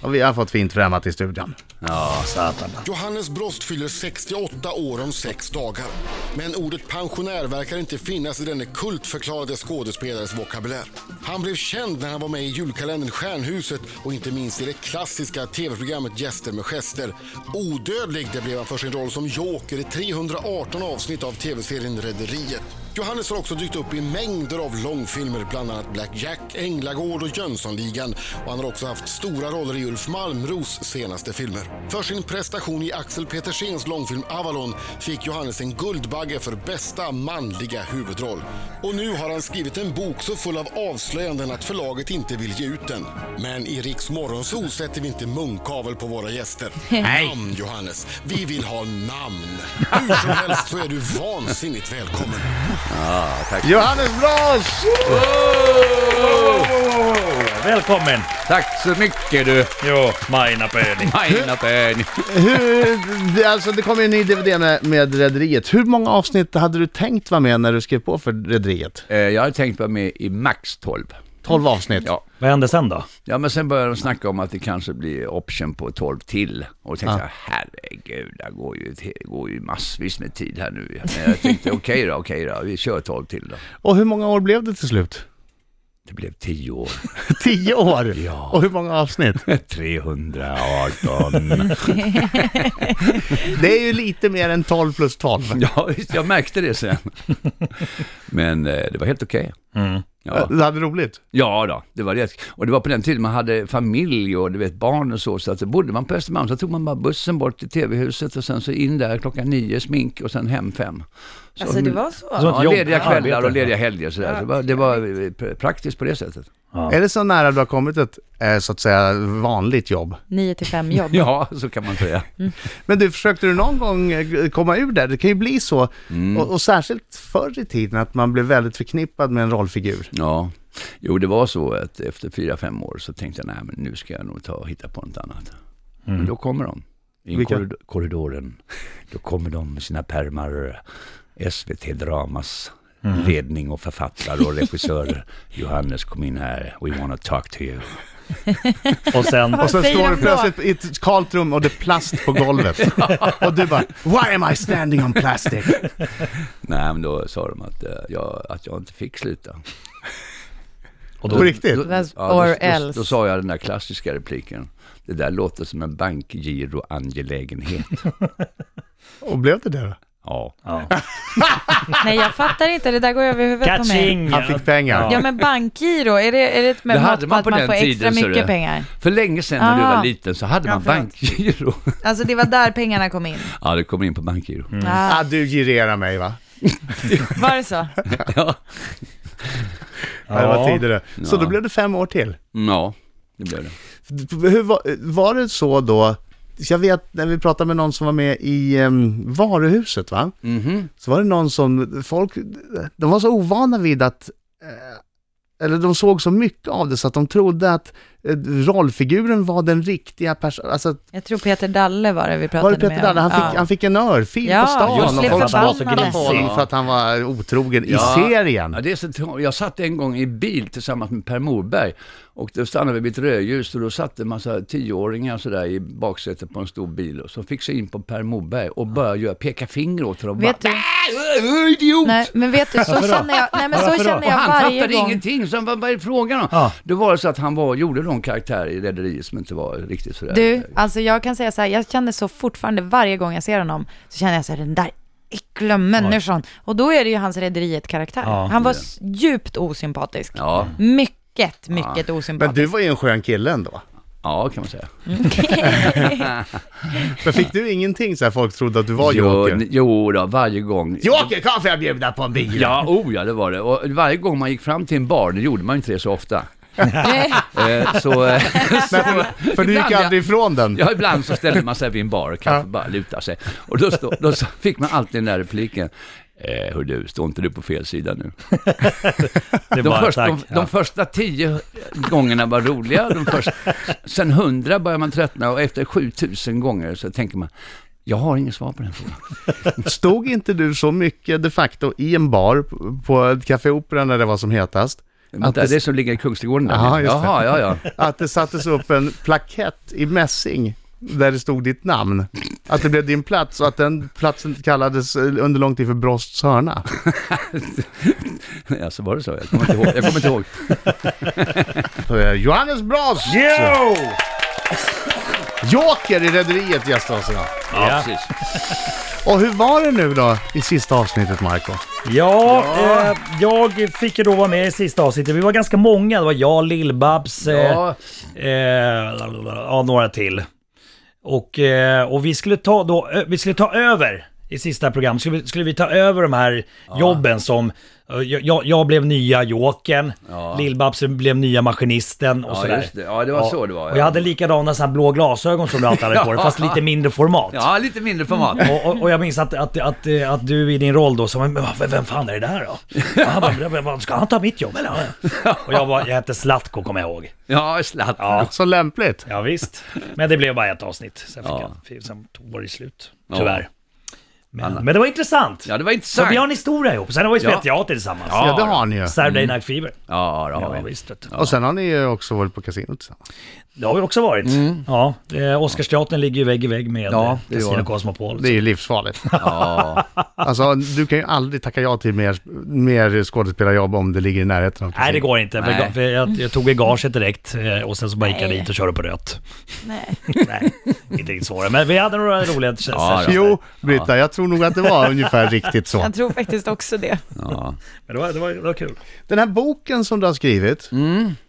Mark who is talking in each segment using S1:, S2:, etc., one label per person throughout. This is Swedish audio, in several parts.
S1: Och vi har fått fint främmat i studion.
S2: Ja.
S1: Satan.
S3: Johannes Brost fyller 68 år om sex dagar. Men ordet pensionär verkar inte finnas i denne kultförklarade skådespelares vokabulär. Han blev känd när han var med i julkalendern Stjärnhuset och inte minst i det klassiska tv-programmet Gäster med gester. Odödlig det blev han för sin roll som joker i 318 avsnitt av tv-serien Rederiet. Johannes har också dykt upp i mängder av långfilmer, bland annat Black Jack, Änglagård och Jönssonligan. Och han har också haft stora roller i Ulf Malmros senaste filmer. För sin prestation i Axel Petersens långfilm Avalon fick Johannes en Guldbagge för bästa manliga huvudroll. Och nu har han skrivit en bok så full av avslöjanden att förlaget inte vill ge ut den. Men i Riks Morgonzoo sätter vi inte munkavel på våra gäster.
S1: Nej.
S3: Namn, Johannes. Vi vill ha namn. Hur som helst så är du vansinnigt välkommen.
S1: Johannes Blas!
S4: Välkommen!
S2: Tack så mycket du,
S4: Jo, Maina Pöni.
S2: Aina Pöni.
S1: Hur, det- alltså det kommer ju en ny DVD med, med Rederiet. Hur många avsnitt hade du tänkt vara med när du skrev på för Rederiet?
S2: Eh, Jag hade tänkt vara med i max 12.
S1: 12 avsnitt?
S2: Ja.
S4: Vad hände sen då?
S2: Ja men sen började de snacka om att det kanske blir option på 12 till. Och tänkte jag, herregud, det går ju, det går ju massvis med tid här nu. Men jag tänkte, okej då, okej då, vi kör 12 till då.
S1: Och hur många år blev det till slut?
S2: Det blev 10 år.
S1: 10 år? Ja. Och hur många avsnitt?
S2: 318.
S1: Det är ju lite mer än 12 plus 12.
S2: Ja, visst, jag märkte det sen. Men eh, det var helt okej. Ja.
S1: Det hade roligt.
S2: ja, då, det var det. Och det var på den tiden man hade familj och du vet, barn och så. Så att bodde man på Östermalm så tog man bara bussen bort till TV-huset och sen så in där klockan nio, smink och sen hem fem. Så,
S5: Alltså det var så?
S4: Så-
S2: Ja,
S4: Jobb-
S2: lediga kvällar och
S4: arbete.
S2: lediga helger sådär. Så det var, det var eh, pr- praktiskt på det sättet.
S1: Är det så nära du har kommit ett eh, så att säga vanligt jobb?
S5: 9 till 5 jobb.
S2: Ja, så kan man säga.
S1: Men du, försökte du någon gång eh, komma ur där? Det kan ju bli så. Och, och särskilt förr i tiden att man blev väldigt förknippad med en rollfigur.
S2: Ja. Jo, det var så att efter fyra, fem år så tänkte jag, nej men nu ska jag nog ta och hitta på något annat.
S4: Mm.
S2: Men då kommer de. Mm. I
S1: Vilka?
S2: korrid- korridoren. Då kommer de med sina eh, pärmar. SVT Dramas
S4: Mm.
S2: ledning och författare och regissör. Johannes, kom in här. We wanna talk to you.
S4: Och sen...
S1: Och sen
S5: säger
S1: står
S5: de
S1: du
S5: då?
S1: plötsligt i ett kallt rum och det är plast på golvet. och du bara “Why am I standing on plastic?”
S2: Nej, men då sa de att, eh, jag, att jag inte fick sluta.
S4: Och
S1: På
S4: då,
S1: riktigt?
S2: Då,
S5: Was-
S2: ja, då,
S5: or
S2: då, Då,
S5: else.
S2: sa jag den där klassiska repliken. Det där låter som en bankgiroangelägenhet.
S1: Och blev det det då?
S2: ja.
S5: Nej jag fattar inte, det där går över huvudet på mig.
S4: catching!
S1: Han fick pengar.
S5: Ja men bankgiro, är det, är det ett med
S2: Det hade
S5: mått på
S2: man
S5: att
S2: på
S5: man
S2: den
S5: får extra
S2: tiden, så
S5: mycket
S2: det-
S5: pengar?
S2: För länge sedan när du
S5: Ah.
S2: var liten så hade
S5: Ja,
S2: man
S5: förlåt.
S2: bankgiro.
S5: Alltså det var där pengarna kom in.
S2: Ja, det kommer in på bankgiro.
S4: Mm.
S5: Ah,
S1: Ah, du girerar mig va?
S5: var det så?
S2: Ja.
S1: Ja. Det var
S4: Ja.
S1: tidigare. Så då blev det fem år till.
S2: Mm, ja, det blev det.
S1: Hur var, var det så då, jag vet när vi pratade med någon som var med i em, varuhuset va?
S2: Mhm.
S1: Så var det någon som, folk, de var så ovana vid att, eh, eller de såg så mycket av det så att de trodde att eh, rollfiguren var den riktiga personen. Alltså,
S5: Jag tror Peter Dalle var det vi pratade
S1: var det
S5: med.
S1: Peter Dalle? Han, fick, han fick en örfil
S5: Ja,
S1: på stan
S5: just
S1: och
S5: det,
S1: folk
S4: förbannade.
S1: spottade på honom för att han var otrogen
S2: Ja.
S1: i serien.
S2: Ja, det är så tråkigt. jag satt en gång i bil tillsammans med Per Morberg och då stannade vi vid ett rödljus och då satt en massa tioåringar sådär i baksätet på en stor bil och så fick sig in på Per Morberg och började göra- peka finger åt honom.
S5: Vet
S2: bara,
S5: du?
S2: "Äh, äh, Idiot!
S5: Nej men vet du, så känner jag, nej, men så
S4: Varför då?
S5: känner
S2: Och
S5: jag
S2: han
S5: varje
S2: fattade
S5: gång.
S2: ingenting, så vad, vad är det frågan om?
S4: Ja.
S2: Då var det så att han var, gjorde någon karaktär i Rederiet som inte var riktigt sådär.
S5: Du, alltså jag kan säga så här, jag känner så fortfarande varje gång jag ser honom, så känner jag så här, den där äckliga människan. Och då är det ju hans Rederiet-karaktär.
S4: Ja,
S5: han var s- djupt osympatisk.
S2: Ja,
S5: Mycket, mycket
S1: Men
S5: osympatisk.
S1: du var ju en skön kille ändå.
S2: ja kan man säga.
S1: Men fick du ingenting så här folk trodde att du var Joker?
S2: n- jo då, varje gång.
S1: Joker, kom får jag bjuda på en bil?
S2: Ja, oh ja, det var det. Och varje gång man gick fram till en bar, det gjorde man ju inte det så ofta. eh, så, eh, så,
S1: För du gick
S2: ibland-
S1: aldrig ifrån den.
S2: Ja, ibland så ställde man sig vid en bar och kanske bara lutar sig. Och då, stå, då så fick man alltid den där repliken. Eh, hör du, står inte du på fel sida nu?
S4: Det
S2: De,
S4: var
S2: första,
S4: tack.
S2: de, de första tio gångerna var roliga. De första, sen hundra börjar man tröttna och efter 7000 gånger så tänker man, jag har inget svar på den frågan.
S1: Stod inte du så mycket de facto i en bar på- på ett Café Opera när det var som hetast?
S2: Att det...
S1: det-
S2: är det som ligger i Kungsträdgården? där.
S1: Jaha, just det.
S2: Jaha, ja, ja.
S1: Att det sattes upp en plakett i mässing där det stod ditt namn. Att det blev din plats och att den platsen kallades eh, under lång tid för Brosts hörna.
S2: ja. så var det så? Jag kommer inte ihåg. Jag kommer inte ihåg.
S1: Så, eh, Johannes Brost!
S4: Yo!
S1: Joker i Rederiet gästar oss idag.
S2: Ja,
S4: Ja.
S2: precis.
S1: Och hur var det nu då i sista avsnittet, Marco?
S4: Ja, Eh, jag fick ju då vara med i sista avsnittet. Vi var ganska många. Det var jag, Lill-Babs, eh,
S2: Ja,
S4: eh, ja, några till. Och, eh, och vi, skulle ta då, ö- vi skulle ta över i sista program. Skulle, vi- skulle vi ta över de här jobben som... eh, Jag, jag blev nya Jokern,
S2: Ja.
S4: Lill-Babs blev nya Maskinisten och
S2: Ja,
S4: sådär.
S2: just det. Ja, det var så det var,
S4: Och
S2: ja.
S4: jag hade likadana sådana här blå glasögon som du alltid hade på dig, fast lite mindre format.
S2: ja lite mindre format.
S4: Och, och, och jag minns att, att, att, att du i din roll då sa men vem, vem fan är det där då? Och han bara, "Men vad, ska han ta mitt jobb eller? Och jag bara, jag hette Zlatko kommer jag ihåg.
S2: Ja, slatt.
S4: Ja.
S1: Så lämpligt.
S4: Ja, visst. Men det blev bara ett avsnitt. Sen, fick
S2: Ja.
S4: jag, sen var det slut,
S2: Ja.
S4: tyvärr. Men, men det var intressant.
S2: Ja, det var
S4: Så
S2: intressant.
S4: vi har en historia ihop. Sen har vi spelat
S2: Ja.
S4: teater tillsammans.
S1: Ja, det har ni ju.
S4: Saturday Night Fever.
S2: Mm. Ja, det
S4: Ja,
S2: har vi.
S4: visst. vet du.
S1: Och sen har ni ju också varit på kasinot tillsammans.
S4: Det har vi också varit. Ja, eh, Oscarsteatern ligger ju vägg i vägg med
S2: Mm. Ja,
S4: ja,
S2: det gör
S4: Casino
S2: den.
S4: Cosmopol.
S1: Det är ju livsfarligt.
S2: Ja.
S1: Alltså, du kan ju aldrig tacka ja till mer, mer skådespelarjobb om det ligger i närheten av
S4: Nej, det
S1: kasinot.
S4: går inte.
S2: Nej.
S4: För jag, jag tog i gaget direkt eh, och sen så bara gick jag
S5: Nej.
S4: dit och körde på rött.
S5: Nej.
S4: Nej, inte riktigt svårare. Men vi hade några roliga
S2: Ja,
S4: tjänster.
S2: då.
S1: Jo, Britta, jag tror nog att det var ungefär riktigt så.
S5: Jag tror faktiskt också det.
S2: ja.
S4: Men det var, det, var, det var kul.
S1: Den här boken som du har skrivit,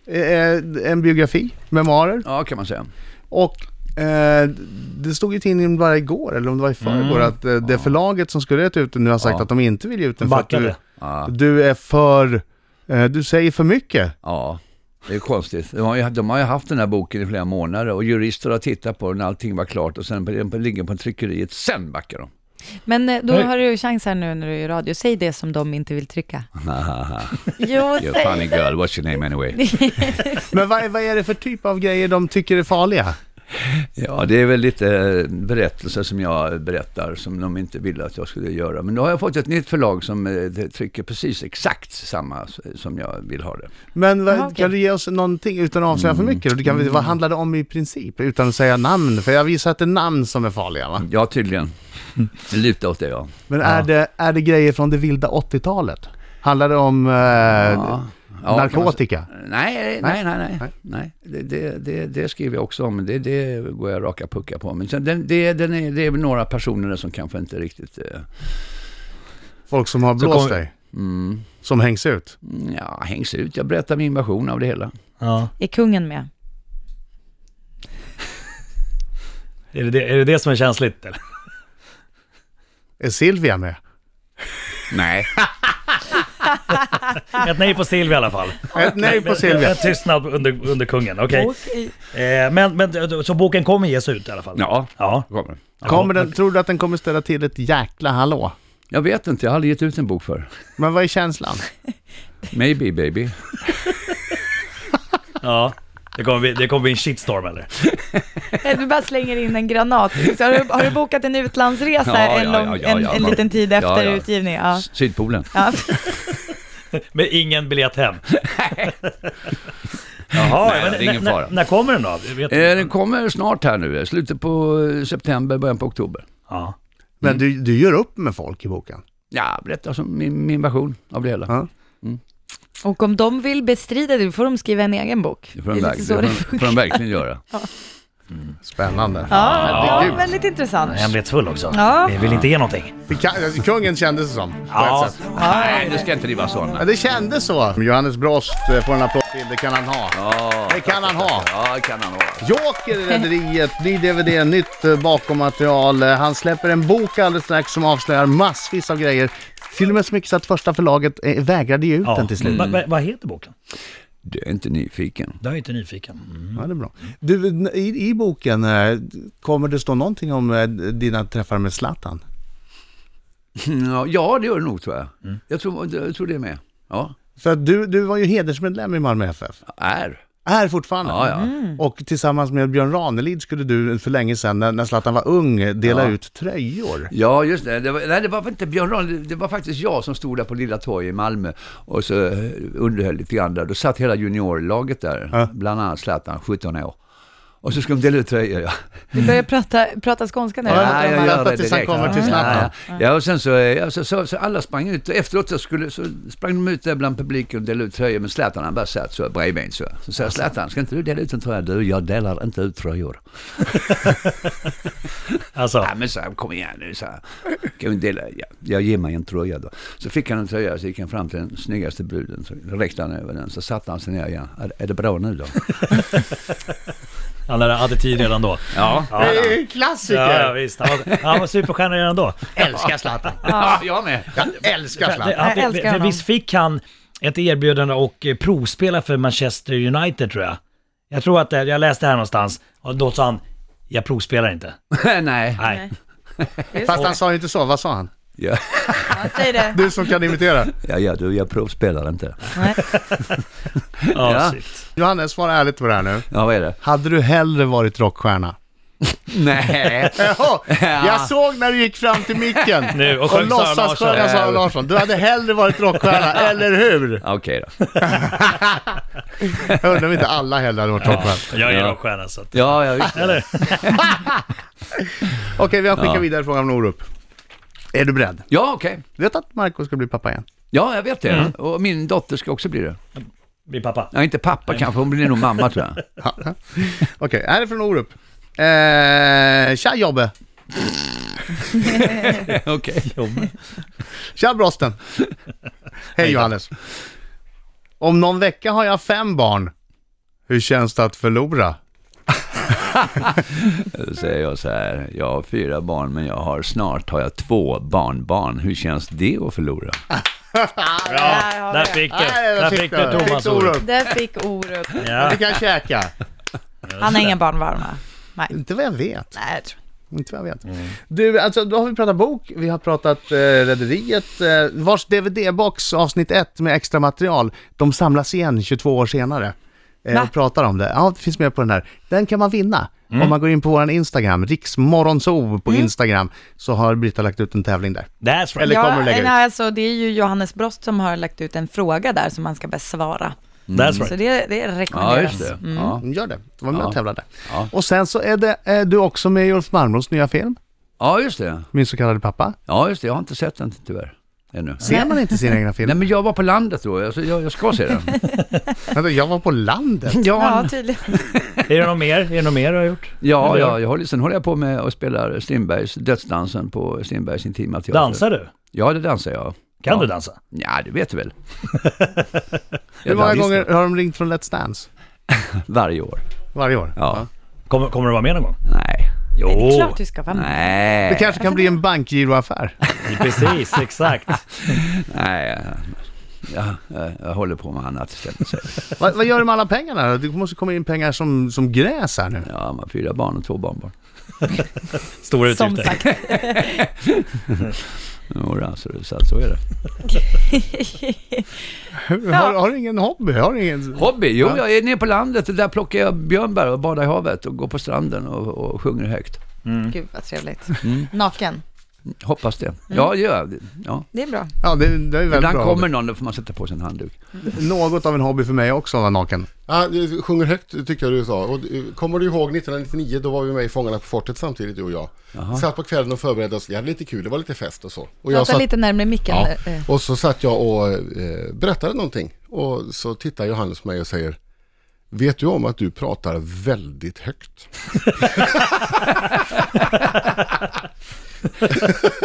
S1: är en biografi, memoarer,
S2: ja, kan man säga.
S1: och eh, det stod i tidningen bara igår, eller om det var i förrgår, att eh, det förlaget som skulle ge ut den nu har sagt
S2: Ja.
S1: att de inte vill ge ut den för att du,
S4: Backade.
S2: Ja.
S1: du är för, eh, du säger för mycket.
S2: Ja, det är konstigt. De har, ju, de har ju haft den här boken i flera månader och jurister har tittat på den, allting var klart och sen på- den ligger på tryckeriet, sen backar de.
S5: Men eh, då
S4: Nej.
S5: har du chans här nu när du är i radio. Säg det som de inte vill trycka. jo,
S2: You're a funny
S5: säg.
S2: girl, what's your name anyway?
S1: Men vad, är- vad är det för typ av grejer de tycker är farliga?
S2: Ja, det är väl lite eh, berättelser som jag berättar som de inte ville att jag skulle göra. Men nu har jag fått ett nytt förlag som eh, trycker precis exakt samma s- som jag vill ha det.
S1: Men vad,
S5: Jaha, okej.
S1: kan du ge oss någonting utan att avslöja för mycket? Och Du kan, Vad handlar det om i princip, utan att säga namn? För jag visar att det är namn som är farliga va?
S2: Ja, tydligen. Det lutar åt det, ja.
S1: Men är, det, är det grejer från det vilda 80-talet? Handlar det om eh,
S2: ja. Ja, kan man s-
S1: narkotika?
S2: Nej, nej, nej, nej. nej. Det, det, det, det skriver jag också om, det, det går jag raka puckar på. Men sen, den, det, den är, det är väl några personer som kanske inte riktigt... Eh,
S1: Folk som har
S4: Så
S1: blåst
S4: kom-
S1: dig?
S2: mm,
S1: Som hängs ut?
S2: ja, hängs ut. Jag berättar min version av det hela.
S4: Ja.
S5: Är kungen med?
S4: Är, det det, är det det som är känsligt? Eller?
S1: Är Silvia med?
S2: Nej.
S4: Ett nej på Silvia i alla fall.
S1: Ett Eh, nej på Silvia.
S4: En tystnad under, under kungen, okej.
S5: Okej.
S4: Eh, men, men så boken kommer ges ut i alla fall?
S2: Ja,
S4: Ja.
S2: kommer den.
S1: Kommer den, tror du att den kommer ställa till ett jäkla hallå?
S2: Jag vet inte, jag har aldrig gett ut en bok för.
S1: Men vad är känslan?
S2: Maybe baby.
S4: ja. Det kommer, bli, det kommer bli en shitstorm eller?
S5: Nej, Du bara slänger in en granat. Så Har du, har du bokat en utlandsresa
S2: Ja, ja,
S5: en, lång,
S2: ja, ja,
S5: en,
S2: ja.
S5: en liten tid efter
S2: Ja, ja.
S5: utgivning? Ja.
S2: S- Sydpolen.
S5: Ja.
S4: Med ingen biljett hem? Jaha,
S2: Nej,
S4: men
S2: det är ingen
S4: när-
S2: fara.
S4: När, när kommer den då? Vet
S2: Eh,
S4: du?
S2: den kommer snart här nu, eh, slutet på eh, september, början på oktober.
S4: Ja.
S1: Men du,
S2: Mm.
S1: du gör upp med folk i boken.
S2: Ja, berätta som min, min version av det hela.
S1: Ja.
S5: Och om de vill bestrida det, då får de skriva en egen bok.
S2: Det får de
S5: lite
S2: verk-
S5: så
S2: det
S5: det
S2: får de-
S5: funkar.
S2: får de verkligen göra.
S1: Spännande.
S5: Ja,
S1: Herregud.
S5: väldigt intressant.
S4: Hemlighetsfull också.
S5: Ja.
S4: Vi vill inte ge någonting.
S1: Det kan, alltså, kungen kändes det som. på ett
S4: Ja.
S1: sätt.
S2: Nej, nu ska jag inte driva sådana.
S1: Ja, det kändes så. Johannes Brost eh, får en applåd till, det kan han ha.
S2: Ja,
S1: Det kan han ha.
S2: Ja, det kan han ha.
S1: Joker i Rederiet, ny DVD, nytt eh, bakommaterial. Eh, Han släpper en bok alldeles strax som avslöjar massvis av grejer. Till och med så mycket så att första förlaget eh, vägrade ge ut
S4: Ja.
S1: den till slut.
S4: Va- va- vad heter boken?
S2: Du är inte nyfiken.
S4: Det är jag inte nyfiken.
S1: Mm. Ja, det är bra. Du, n- i, i boken, eh, kommer det stå någonting om eh, dina träffar med Zlatan?
S2: Ja, Ja, det gör du nog tror jag. Jag, tror, jag tror det är med. Ja,
S1: För att du, du var ju hedersmedlem i Malmö FF.
S2: är.
S1: Är fortfarande.
S2: Ja, ja.
S1: Och tillsammans med Björn Ranelid skulle du för länge sedan, när, när Zlatan var ung, dela
S2: Ja.
S1: ut tröjor.
S2: Ja, just det. det var, nej, det var inte Björn Ranelid. Det var faktiskt jag som stod där på Lilla Torget i Malmö och så eh, underhöll lite grann där. Då satt hela juniorlaget där,
S1: Ja.
S2: bland annat Zlatan, 17 år. Och så skulle de dela ut tröjor, ja.
S5: Du börjar prata, prata skånska nu.
S1: Ja,
S5: eller?
S1: ja,
S5: De
S1: ja,
S5: här-
S1: ja. vänta tills han
S2: direkt.
S1: kommer till Zlatan.
S2: Ja, ja. ja, och sen så, eh, ja, så, så, så alla sprang ut. Och Efteråt så, skulle, så sprang de ut där bland publiken och delade ut tröjor. Men Zlatan han bara satt så bredvid en så. Så sa jag, Zlatan, ska inte du dela ut en tröja? Du, jag delar inte ut tröjor.
S4: Alltså,
S2: Ja, men så här, kom igen nu, så här. Kan vi dela? Ja, jag ger mig en tröja då. Så fick han en tröja, så gick han fram till den snyggaste bruden. Så räckte han över den, så satte han sig ner igen. Är, är det bra nu då?
S4: han hade tid redan då.
S2: Ja.
S4: Ja, ja.
S1: ju en klassiker!
S4: Ja, visst. Han var, han var superstjärna redan då.
S1: Älskar Zlatan.
S2: ja, jag med.
S1: Jag älskar
S4: Det,
S1: Zlatan.
S4: han,
S5: Jag
S4: det,
S5: älskar
S4: för
S5: honom.
S4: visst fick han ett erbjudande och eh, provspela för Manchester United tror jag. Jag tror att det, jag läste det här någonstans och då sa han jag provspelar inte.
S2: Nej.
S4: Nej.
S1: Fast han sa ju inte så, vad sa han?
S2: Ja,
S5: Ja, säg det.
S1: Du som kan imitera.
S2: ja, ja du, jag provspelar inte.
S5: Nej.
S4: Ja,
S2: Ja.
S4: shit.
S1: Johannes, svara ärligt på det här nu.
S2: Ja, vad är det?
S1: Hade du hellre varit rockstjärna?
S2: Nej.
S1: Jaha,
S2: Ja.
S1: jag såg när du gick fram till micken
S4: Nu, och
S1: och,
S4: sjöng Sara
S1: låtsas sjönga
S2: Larsson.
S1: Sara Larsson. Du hade hellre varit rockstjärna, eller hur?
S2: Okej då.
S1: Jag undrar om inte alla hellre hade varit rockstjärna.
S4: Jag är
S2: Ja.
S4: rockstjärna så att...
S2: Ja, ja, visst.
S4: Eller?
S1: Okej, vi har skickat
S2: Ja.
S1: vidare frågan från Orup. Är du beredd?
S2: Ja, okej.
S1: Du vet att Marco ska bli pappa igen?
S2: Ja, jag vet det. Och min dotter ska också bli det.
S4: Bli pappa.
S2: Ja, inte pappa kanske, hon blir nog mamma tror jag.
S1: Ja. Okej, här är från Orup. Eh, tja Jobbe!
S2: Okej.
S1: Tja Brosten! Hej Johannes! Om någon vecka har jag fem barn. Hur känns det att förlora?
S2: Då säger jag så här, jag har fyra barn men jag har snart har jag två barnbarn. Hur känns det att förlora?
S4: Bra,
S5: där har vi
S4: där
S5: det.
S4: fick du.
S1: Nej, där fick
S4: Där fick
S1: du.
S4: du
S1: Fick
S4: Thomas
S1: du
S4: ord.
S1: Orup.
S5: Där fick Orup.
S4: Ja.
S1: Vi kan käka.
S5: Han har inga barn varma. Nej,
S1: Inte vad jag vet.
S5: nej jag tror
S1: Inte vad jag vet. Du, alltså då har vi pratat bok, vi har pratat eh, Rederiet, eh, vars DVD-box avsnitt 1 med extra material, de samlas igen 22 år senare. Eh,
S5: Va?
S1: och pratar om det. Ja, det finns med på den här. Den kan man vinna om man går in på vår Instagram, riksmorgonzoo på Instagram, så har Britta lagt ut en tävling där.
S4: That's right.
S1: Eller kommer du lägga ut?
S5: nej, alltså, det är ju Johannes Brost som har lagt ut en fråga där som man ska besvara.
S4: That's
S5: Så
S4: right.
S5: det, det
S2: Ja,
S5: rekommenderas.
S2: just det. Ja.
S1: Gör det, var med
S2: Ja.
S1: och tävlade.
S2: Ja.
S1: Och sen så är det, eh, du också med i Ulf Malmros nya film,
S2: ja, just det.
S1: Min så kallade pappa.
S2: Ja, just det. Jag har inte sett den tyvärr. Ännu.
S1: Ser man inte sina egna
S2: Nej,
S1: filmer?
S2: men jag var på landet då. Alltså, jag, jag ska se den.
S1: Vänta, Jag var på landet.
S2: Ja,
S5: Ja, tydligen.
S4: Är det något mer? Är det något mer du har gjort?
S2: ja, ja jag håller, sen håller jag på med och spelar Strindbergs Dödsdansen på Strindbergs intima teater.
S4: Dansar du?
S2: Ja, det dansar jag.
S4: Kan
S2: ja.
S4: du dansa?
S2: Ja, det vet du väl.
S1: Hur
S2: Jag
S1: många
S2: dansar
S1: gånger har de ringt från Let's Dance?
S2: Varje år.
S1: Varje år?
S2: Ja.
S4: Kommer, kommer du vara med någon gång?
S2: Nej.
S4: Jo,
S5: Det är klart du ska vara med.
S2: Nej.
S1: Det kanske kan bli en bankgiroaffär.
S4: precis, exakt.
S2: Nej. Jag, jag, jag håller på med annat istället. så.
S1: vad, vad gör du med alla pengarna då? Det måste komma in pengar som, som gräs här nu.
S2: Ja, man har fyra barn och två barnbarn.
S4: Stora
S5: Som
S4: utgifter.
S5: sagt.
S2: Jodå, så, det- så, att så är det.
S1: Har, har du ingen hobby? Har du ingen...
S2: Hobby? Jo, jag är nere på landet och där plockar jag björnbär och badar i havet och går på stranden och, och sjunger högt.
S5: Gud vad trevligt. Naken.
S2: Hoppas det. Ja, det gör jag. Ja.
S5: Det är bra.
S1: Ja, det, det Mm. är ju väldigt
S2: Ibland
S1: bra
S2: kommer
S1: hobby.
S2: någon, då får man sätta på sig en handduk.
S1: Något av en hobby för mig också att vara naken.
S3: Ja, du sjunger högt tycker jag du sa. Och, eh, kommer du ihåg 1999? Då var vi med i Fångarna på fortet samtidigt du och jag. Satt på kvällen och förberedde oss. Vi hade lite kul, det var lite fest och så. Och
S5: Prata
S3: satt,
S5: lite närmare micken.
S3: ja,
S5: eh, eh.
S3: och så satt jag och eh, berättade någonting. Och så tittar Johannes på mig och säger Vet du om att du pratar väldigt högt?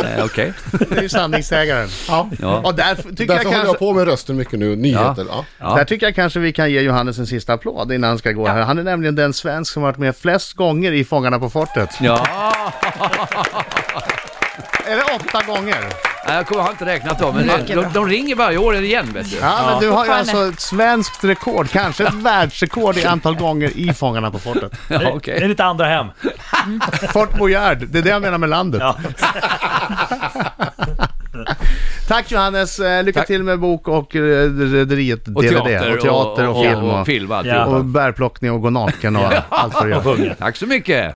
S2: Eh, Okej.
S1: Det är ju sanningssägaren.
S3: Ja,
S2: Ja.
S1: Och där tycker
S3: därför
S1: jag
S3: håller
S1: kanske...
S3: jag på med rösten mycket nu, nyheter. Ja.
S2: Ja.
S1: Där tycker jag kanske vi kan ge Johannes en sista applåd innan han ska gå här. Han är nämligen den svensk som har varit med flest gånger i Fångarna på fortet.
S2: Ja,
S1: Eller åtta gånger.
S2: Nej, jag kommer, jag har inte räknat dem, men det, de, de ringer varje år igen vet du.
S1: Ja, men du har ju
S5: fortfarande.
S1: alltså ett svenskt rekord, kanske ett världsrekord i antal gånger i Fångarna på fortet.
S2: Ja,
S4: Det är
S2: okej.
S4: ditt andra hem.
S1: Fort Boyard, det är det jag menar med landet.
S4: Ja.
S1: Tack Johannes, Eh, lycka
S2: Tack.
S1: till med bok och eh, Rederiet DVD.
S2: Och teater,
S1: och, teater och, film
S2: och,
S1: och,
S2: film och,
S1: och bärplockning och gå naken och allt vad du
S4: Och
S1: gör.
S4: sjunga.
S2: Tack så mycket!